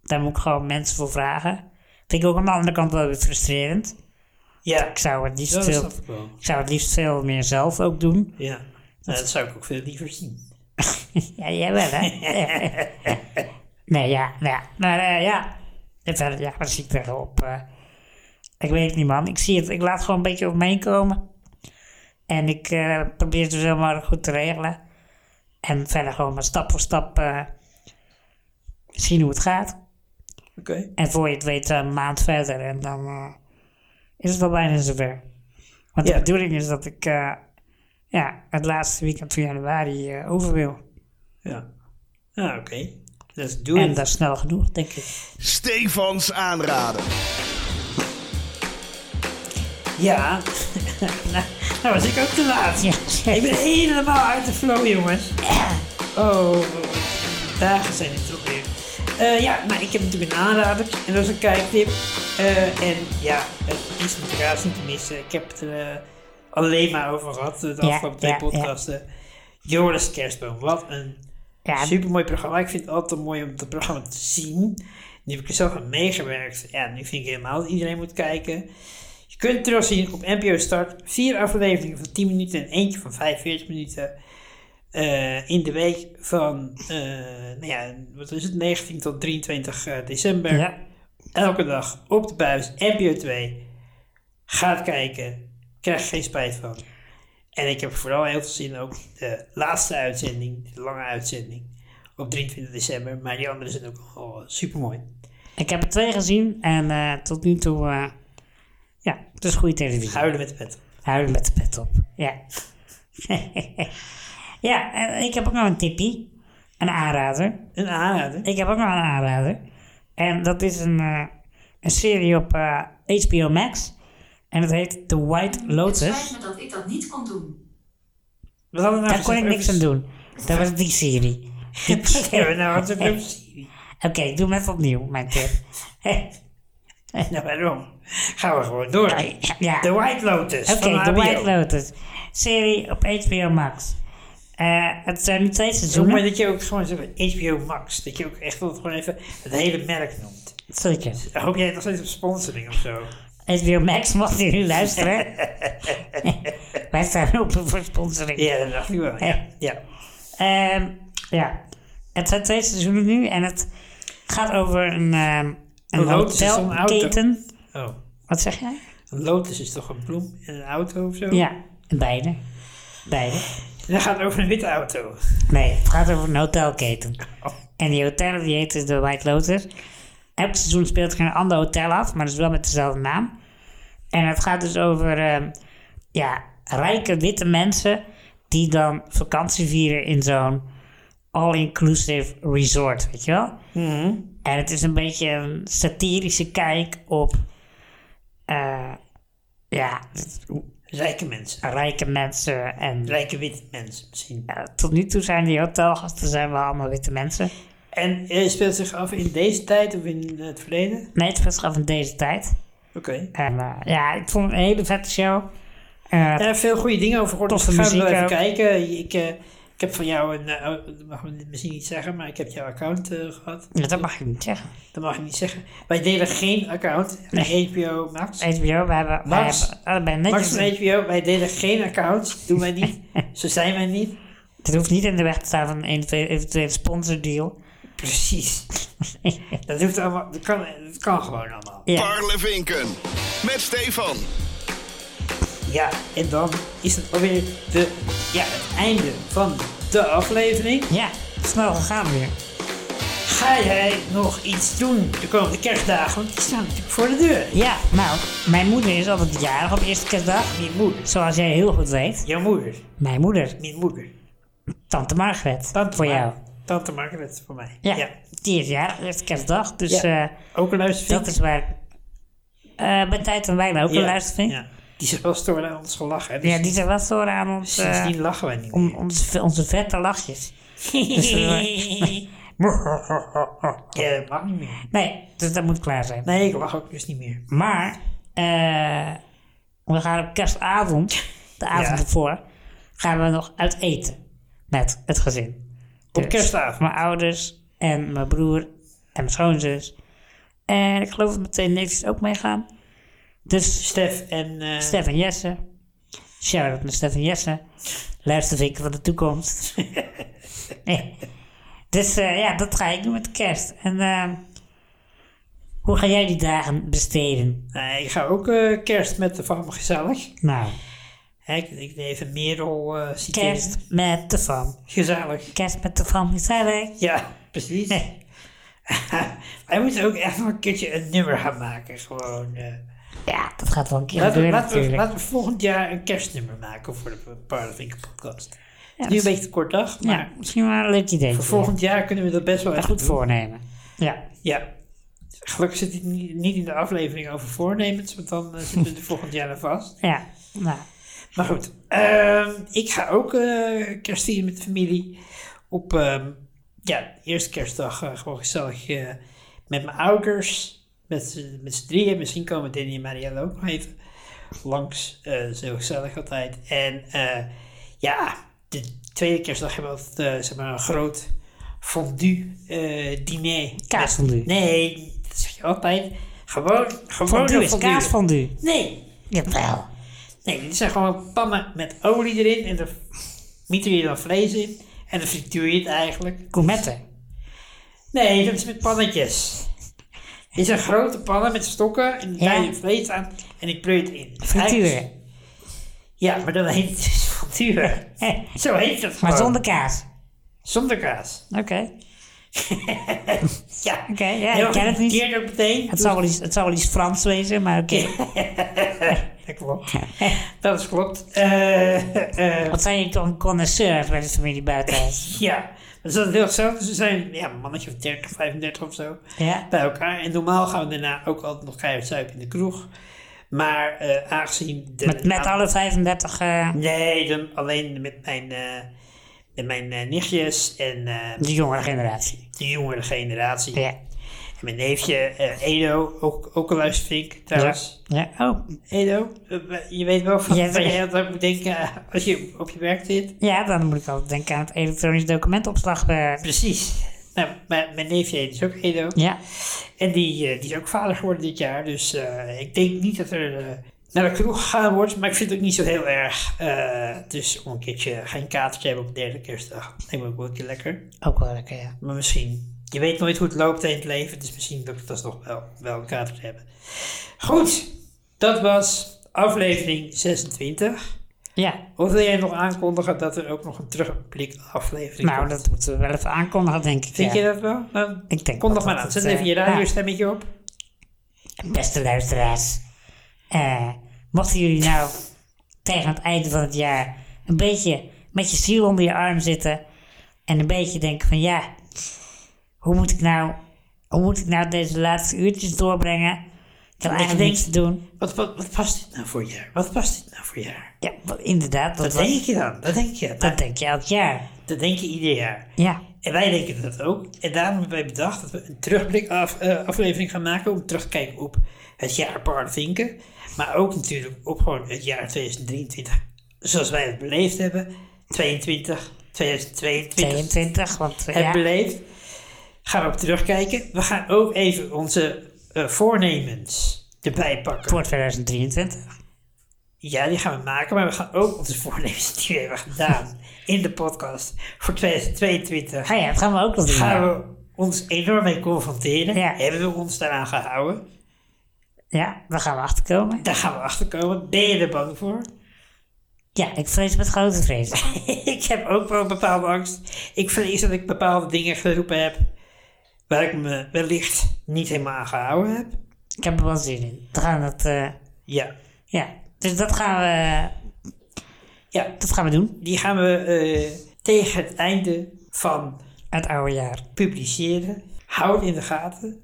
daar moet ik gewoon mensen voor vragen. Vind ik ook aan de andere kant wel weer frustrerend. ja. Ik zou het liefst, Dat veel, snap ik wel. ik zou het liefst veel meer zelf ook doen. Ja, nou, dat zou ik ook veel liever zien. Ja, jij wel, hè? nee, ja, nou ja. Maar eh, ja, En verder, ja, wat zie ik tegenop? eh ik weet het niet, man. Ik zie het. Ik laat gewoon een beetje op me heen komen. En ik eh, probeer het zo snel mogelijk goed te regelen. En verder gewoon maar stap voor stap eh, zien hoe het gaat. Oké. En voor je het weet, eh, een maand verder. En dan eh, is het wel bijna zover. Want Ja. de bedoeling is dat ik eh, ja, het laatste weekend van januari eh, over wil. Ja. Ah, oké. Let's do it. En dat is snel genoeg, denk ik. Stefans aanraden. Ja. nou, nou was ik ook te laat. Ja. Ik ben helemaal uit de flow, jongens. Oh, dagen zijn het toch weer. Eh, ja, nou, ik heb natuurlijk een aanrader en dat is een kijktip. Eh, en ja, het is natuurlijk haast niet te missen. Ik heb het er eh, alleen maar over gehad eh, de afgelopen twee ja, ja. podcasten. Joris Kerstboom, wat een Ja, Super mooi programma. Ik vind het altijd mooi om het programma te zien. Nu heb ik er zelf aan meegewerkt. Ja, nu vind ik helemaal dat iedereen moet kijken. Je kunt het terugzien op NPO Start. Vier afleveringen van 10 minuten en eentje van 45 minuten. Eh, eh, in de week van eh, nou ja, wat is het, 19 tot 23 eh, december. Ja. Elke dag op de buis, NPO 2. Gaat kijken, krijg er geen spijt van. En ik heb vooral heel veel zin ook de laatste uitzending, de lange uitzending, op 23 december. Maar die andere zijn ook al super mooi. Ik heb er twee gezien en eh, tot nu toe, eh, ja, het is goede televisie. Huilen met de pet. Huilen met de pet op. Ja. ja, en ik heb ook nog een tippie. Een aanrader. Een aanrader. Ik heb ook nog een aanrader. En dat is een, eh, een serie op eh, HBO Max. En het heet The White Het Lotus. spijt me dat ik dat niet kon doen. Wat hadden we nou Daar kon ik gezegd niks aan over- doen. Dat was die serie. Die Ja, serie. nou hadden we het over Siri. Oké, ik doe hem even opnieuw, mijn tip. Nou, waarom? Gaan we gewoon door. ja. The White Lotus. Oké, van The HBO. White Lotus. Serie op HBO Max. Eh, het zijn nu twee Zo mooi seizoenen. dat je ook gewoon zegt HBO Max. Dat je ook echt wel gewoon even het hele merk noemt. Zeker. Hoop jij nog steeds op sponsoring of zo? HBO Max, mocht je nu luisteren. Wij staan open voor sponsoring. Ja, dat dacht ik wel. Ja. Ja. ja. Ehm, ja, het zijn twee seizoenen nu en het gaat over een, ehm een Een lotus is een auto. hotelketen. Oh. Wat zeg jij? Een lotus is toch een bloem in een auto of zo? Ja, beide. Beide. En dan gaat het over een witte auto. Nee, het gaat over een hotelketen. En die hotel die heet dus de White Lotus. Elk seizoen speelt er een ander hotel af, maar dat is wel met dezelfde naam. En het gaat dus over ehm, ja, rijke witte mensen die dan vakantie vieren in zo'n all-inclusive resort, weet je wel? En het is een beetje een satirische kijk op eh, ja, Rijke mensen. rijke mensen en Rijke witte mensen misschien. ja, tot nu toe zijn die hotelgasten zijn wel allemaal witte mensen. En eh, speelt zich af in deze tijd of in het verleden? Nee, het was van deze tijd. Oké. En eh, ja, ik vond het een hele vette show. Eh, Ja, veel goede dingen over gehoord. Dus we Toffe gaan wel muziek even ook. kijken. Ik, eh, ik heb van jou een, eh, oh, dat mag ik misschien niet zeggen, maar ik heb jouw account eh, gehad. Dat mag ik niet zeggen. Dat mag ik niet zeggen. Wij delen geen account. HBO Max. HBO, we hebben, wij Max. hebben allebei Max netjes. van HBO, wij delen geen account. Doen wij niet. Zo zijn wij niet. Het hoeft niet in de weg te staan van een eventueel sponsordeal. Precies. Dat, hoeft allemaal, dat, kan, dat kan gewoon allemaal. Ja, Parlevinken. Met Stefan. Ja, en dan is het alweer de, ja, het einde van de aflevering. ja dus snel gegaan weer. Ga jij nog iets doen de komende kerstdagen? Want die staan natuurlijk voor de deur. Ja, nou, mijn moeder is altijd jarig op eerste kerstdag. Mijn moeder. Zoals jij heel goed weet. Jouw moeder. Mijn moeder, Mijn moeder. tante Margaret. Tante voor Mar- jou. Tante Margaret voor mij. Ja, die is jarig, eerste kerstdag. Dus Ja. eh, Ook een luistervink. dat is waar. Eh bij tijd en wijn ook Ja, een luistervink. Ja. Ja. Die zich wel storen aan ons gelach. Hè? Dus die zijn wel storen aan ons, eh, Sindsdien lachen wij niet om, meer. onze, onze vette lachjes. Dus, eh, Ja, dat mag niet meer. nee, dus dat moet klaar zijn. Nee, ik lach ook dus niet meer. Maar eh, we gaan op kerstavond, de avond Ja. ervoor, gaan we nog uit eten met het gezin. Dus Op kerstavond. Mijn ouders en mijn broer en mijn schoonzus. En ik geloof dat meteen neefjes ook meegaan. Dus Stef en... eh Stef en Jesse. Shout-out naar Stef en Jesse. Luistervinken van de toekomst. dus eh, ja, dat ga ik doen met de kerst. En eh, hoe ga jij die dagen besteden? Nee, ik ga ook eh, kerst met de fam gezellig. Nou, Hè, ik, ik deed even Merel eh citeren. kerst met de fam. Gezellig. Kerst met de fam is eigenlijk. Ja, precies. Wij moeten ook echt nog een keertje een nummer gaan maken. Gewoon... eh. Ja, dat gaat wel een keer Laten we, gebeuren laten, we, natuurlijk. laten we volgend jaar een kerstnummer maken voor de Parlevinken podcast. Het is nu dat- een beetje te kort dag, maar ja, misschien wel een leuk idee. voor volgend jaar kunnen we dat best wel Een even goed doen. voornemen. Ja, Ja. Gelukkig zit het niet niet in de aflevering over voornemens, want dan eh, zitten we er volgend jaar aan vast. ja. Nou, Oh, Maar goed, ehm, ik ga ook eh kerst vieren met de familie. Op ehm, ja, eerste kerstdag eh, gewoon gezellig eh, met mijn ouders, met, z'n- met z'n drieën. Misschien komen Danny en Marielle ook nog even langs. Eh, dat is heel gezellig altijd. En eh, ja, de tweede kerstdag hebben we altijd eh, zeg maar een groot fondue eh diner. Kaasfondue. Nee, dat zeg je altijd. Gewoon, gewoon fondue een is kaasfondue. Nee, Jawel. Mhm. Nee, dit zijn gewoon pannen met olie erin en daar mieter je dan vlees in. En dan frituur je het eigenlijk. Gourmetten. Nee, dat is met pannetjes. Het is een grote pannen met stokken en daar Ja. je vlees aan en ik pleur het in. Eigenlijk- Frituren. Ja, maar dan heet het dus frituur. Hé, Zo heet dat maar gewoon. zonder kaas. Zonder kaas. Oké. Ja, Oké, ja, Heel ik ken het niet. verkeerd ook meteen. Het, zal wel iets, het zal wel iets Frans wezen, maar oké. Dat klopt. Dat is klopt. Eh, eh, Wat zijn je con- connoisseurs bij de familie Buitenhuis? ja, dat is altijd heel gezellig. Dus we zijn ja, een mannetje van 30, 35 of zo Ja? bij elkaar. En normaal gaan we daarna ook altijd nog keihard zuipen in de kroeg. Maar eh, aangezien... De, Met, met alle 35... eh, Nee, dan alleen met mijn, eh, met mijn eh, nichtjes en eh, de jongere generatie. de jongere generatie. Ja. En mijn neefje eh, Edo, ook, ook een luistervink trouwens. Ja, oh. Edo, eh, je weet wel van Ja, waar ja. je altijd aan moet denken eh, als je op je werk zit. Ja, dan moet ik altijd denken aan het elektronisch documentopslag. eh. Precies. Nou, mijn, mijn neefje heet dus ook Edo. ja. En die, eh, die is ook vader geworden dit jaar. Dus eh, ik denk niet dat er eh, naar de kroeg gegaan wordt. Maar ik vind het ook niet zo heel erg. eh, dus om een keertje geen katertje hebben op de derde kerstdag. Lijkt me ook wel een keer lekker. Ook wel lekker, ja. Maar misschien. Je weet nooit hoe het loopt in het leven, dus misschien dat ik dat nog wel, wel een kader te hebben. Goed, dat was aflevering 26. Ja, Of wil jij nog aankondigen dat er ook nog een terugblik aflevering nou, komt? dat moeten we wel even aankondigen, denk ik. Vind ja. je dat wel? Dan Ik denk kondig wel maar dat aan. het, Zet even je eh, radiostemmetje op. Beste luisteraars, eh, mochten jullie nou tegen het einde van het jaar een beetje met je ziel onder je arm zitten en een beetje denken van ja, hoe moet ik nou, hoe moet ik nou deze laatste uurtjes doorbrengen? Ik heb eigenlijk denkt- niks te doen. Wat, wat, wat past dit nou voor jaar? Wat past dit nou voor jaar? Ja, wat- inderdaad, dat, Dat was- denk je dan. Dat denk je. dat Dat, denk je elk jaar. dat denk je ieder jaar. Ja, En wij denken dat ook. En daarom hebben wij bedacht dat we een terugblik af, eh, aflevering gaan maken om terug te kijken op het jaar Paardenvinken. Maar ook natuurlijk op gewoon het jaar 2023. Zoals wij het beleefd hebben. 22, 2022 22, want eh, hebben ja, beleefd. Gaan we op terugkijken. We gaan ook even onze eh, voornemens erbij pakken. voor 2023. Ja, die gaan we maken, maar we gaan ook onze voornemens die we hebben gedaan in de podcast voor 2022 Ah ja, dat gaan we ook nog doen. gaan ja. we ons enorm mee confronteren. Ja. Hebben we ons daaraan gehouden? Ja, daar gaan we achterkomen. Daar gaan we achter komen. Ben je er bang voor? Ja, ik vrees met grote vrees. ik heb ook wel een bepaalde angst. Ik vrees dat ik bepaalde dingen geroepen heb waar ik me wellicht niet helemaal aan gehouden heb. Ik heb er wel zin in. We gaan dat, eh, Ja, ja. Dus dat gaan we, ja dat gaan we doen. die gaan we eh, tegen het einde van Het oude jaar. publiceren. Hou het in de gaten.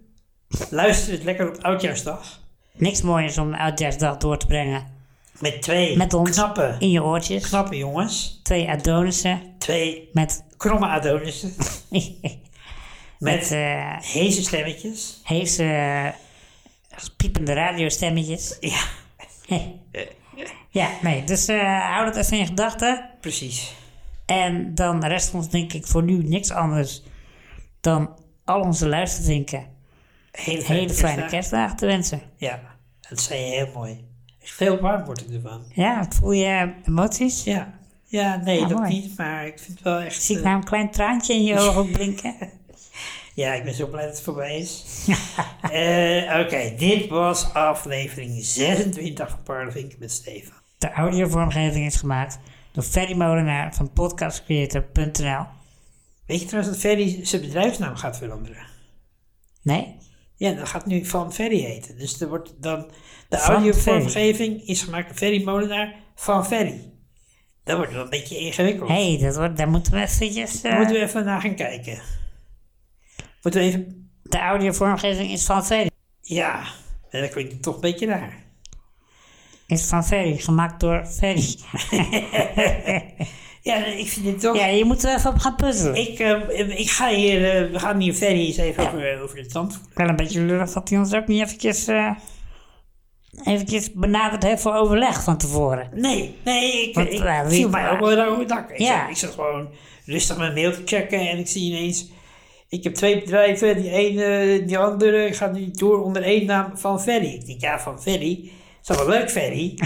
Luister het lekker op Oudjaarsdag. Niks mooiers om de oudjaarsdag door te brengen. Met twee Met ons. knappe, In je oortjes. knappe jongens. Twee Adonissen. Twee Met, kromme Adonissen. met Met eh Heese stemmetjes. heese eh, piepende radiostemmetjes. Ja, Ja, nee. Dus eh, hou dat even in gedachten. precies. En dan rest ons denk ik voor nu niks anders dan al onze luisterdinken Hele fijne, hele fijne kerstdagen. kerstdagen te wensen. Ja, dat zei je heel mooi. Echt Veel warm word ik ervan. Ja, voel je emoties? Ja, ja nee, Ja, dat mooi. niet, maar ik vind het wel echt... Zie ik eh, nou een klein traantje in je ogen blinken? ja, ik ben zo blij dat het voorbij is. Eh, Oké, dit was aflevering 26 van Parlevinken met Stefan. De audiovormgeving is gemaakt door Ferry Molenaar van podcastcreator.nl. Weet je trouwens dat Ferry zijn bedrijfsnaam gaat veranderen? Nee? Ja, dat gaat nu Van Ferry heten. Dus er wordt dan... De Van audiovormgeving is gemaakt door Ferry Molenaar van Ferry. Dat wordt wel een beetje ingewikkeld. Hé, hey, dat wordt, daar moeten we eventjes... eh, Daar moeten we even naar gaan kijken. Moeten we even... De audiovormgeving is van Ferry. Ja, nee, dat klinkt toch een beetje raar. Is van Ferry, gemaakt door Ferry. Ja, nee, ik vind dit toch... Ja, je moet er even op gaan puzzelen. Ik, eh, ik ga hier... eh, we gaan hier verder eens even over, eh, over de tand voelen. Wel een beetje lullig dat hij ons ook niet eventjes... eh eventjes benaderd heeft voor overleg van tevoren. Nee, nee, ik, Want, ik eh, wie- viel mij ook wel over het dak. Ik, Ja. zat, ik zat gewoon rustig mijn mail te checken en ik zie ineens... Ik heb twee bedrijven, die ene, die andere gaat nu door onder één naam Van Ferry. Ik denk, ja, Van Ferry. Dat is wel leuk, Ferry.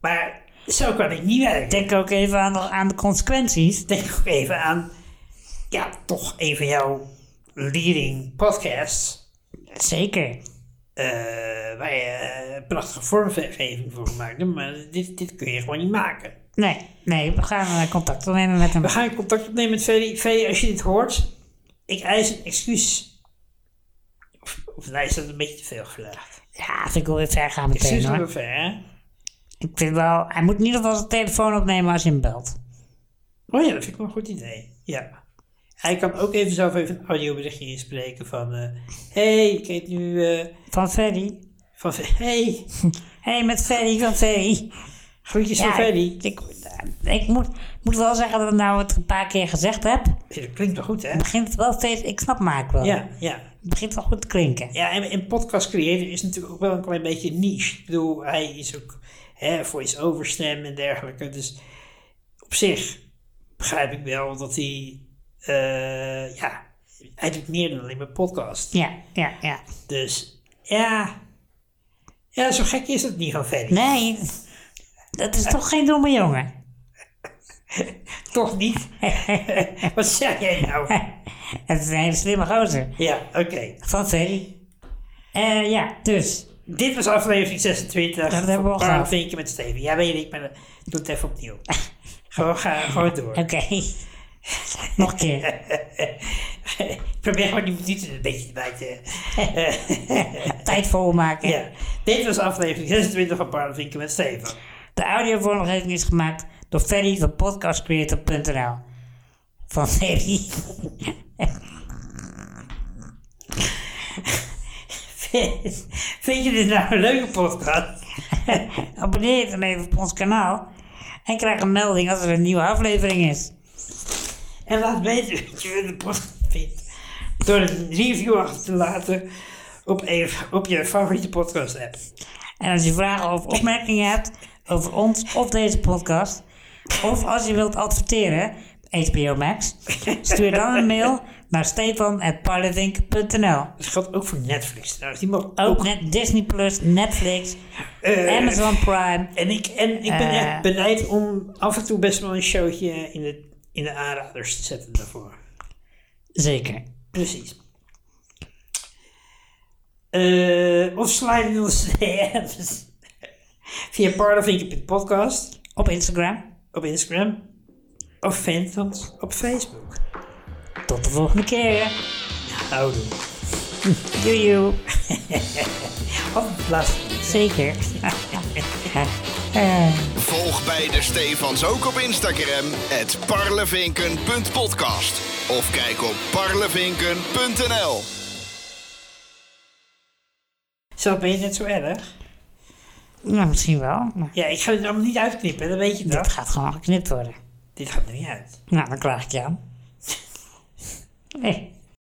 maar Zo kan ik niet werken. Denk ook even aan de, aan de consequenties. Denk ook even aan, ja, toch even jouw leading podcast. Zeker. eh, waar je eh, een prachtige vormgeving voor gemaakt hebt. Maar dit, dit kun je gewoon niet maken. Nee, nee, we gaan eh, contact opnemen met hem. We gaan contact opnemen met Ferry. Ferry, als je dit hoort, ik eis een excuus. Of, of nou is dat een beetje te veel gevraagd. Ja, vind ik wel weer ver gaan meteen Excuus hoor. maar ver, hè? Ik vind wel, hij moet in ieder geval zijn telefoon opnemen als je hem belt. Oh ja, dat vind ik wel een goed idee. Ja. Hij kan ook even zelf even een audioberichtje inspreken van... eh, hey, ik heet nu... eh, Van Ferry. van hey, Hé, hey, met Ferry van Ferry. groetjes van Ik, Ferry. ik, ik moet, moet wel zeggen dat ik nou het een paar keer gezegd heb. Ja, Dat klinkt wel goed, hè? Begint het wel steeds, ik snap me eigenlijk wel. Ja, ja. Het begint wel goed te klinken. Ja, en, en podcast creator is natuurlijk ook wel een klein beetje niche. Ik bedoel, hij is ook hè, voice-over stem en dergelijke. Dus op zich begrijp ik wel dat hij... eh, ja, hij doet meer dan alleen maar podcast. Ja, ja, ja. Dus ja... Ja, zo gek is het niet van Ferry. Nee, dat is toch geen domme jongen. Toch niet? Wat zeg jij nou? Het is een hele slimme gozer. Ja, oké. Van Ferry. Eh, ja, dus. Dit was aflevering 26. Dat hebben we al gehad. Vinkje met Steven. Ja, weet ik, maar eh, doe het even opnieuw. gewoon, ga, gewoon door. Oké. Nog een keer. Ik probeer gewoon die minuten een beetje erbij te... Tijd volmaken. ja. Dit was aflevering 26 van Parlevinken met Steven. De audiovormgeving is gemaakt door Ferry van podcastcreator.nl. Van Ferry. Vind je dit nou een leuke podcast? Abonneer je dan even op ons kanaal en krijg een melding als er een nieuwe aflevering is. En laat weten wat je van de podcast vindt. Door een review achter te laten op, een, op je favoriete podcast app. En als je vragen of opmerkingen hebt over ons of deze podcast, of als je wilt adverteren, HBO Max, stuur dan een mail naar stefan.parlevink.nl. Dat geldt ook voor Netflix trouwens. Die mag Ook net Disney+, Plus, Netflix, eh, Amazon Prime. En ik, en ik ben Eh. echt bereid om af en toe best wel een showtje in de, in de aanraders te zetten daarvoor. Zeker. Precies. Eh, of slide in onze DM's. Via podcast Op Instagram. op Instagram. Of Phantoms op Facebook. Tot de volgende keer. Houden. Doei. doei. Of Oh, laatste. Zeker. Eh. Volg beide Stefans ook op Instagram. Het parlevinken.podcast. Of kijk op parlevinken.nl. Zo ben je net zo erg. nou, misschien wel. maar Ja, ik ga het allemaal niet uitknippen, dan weet je Dit dat. gaat gewoon geknipt worden. Dit gaat er niet uit. Nou, dan klaag ik je aan. Nee.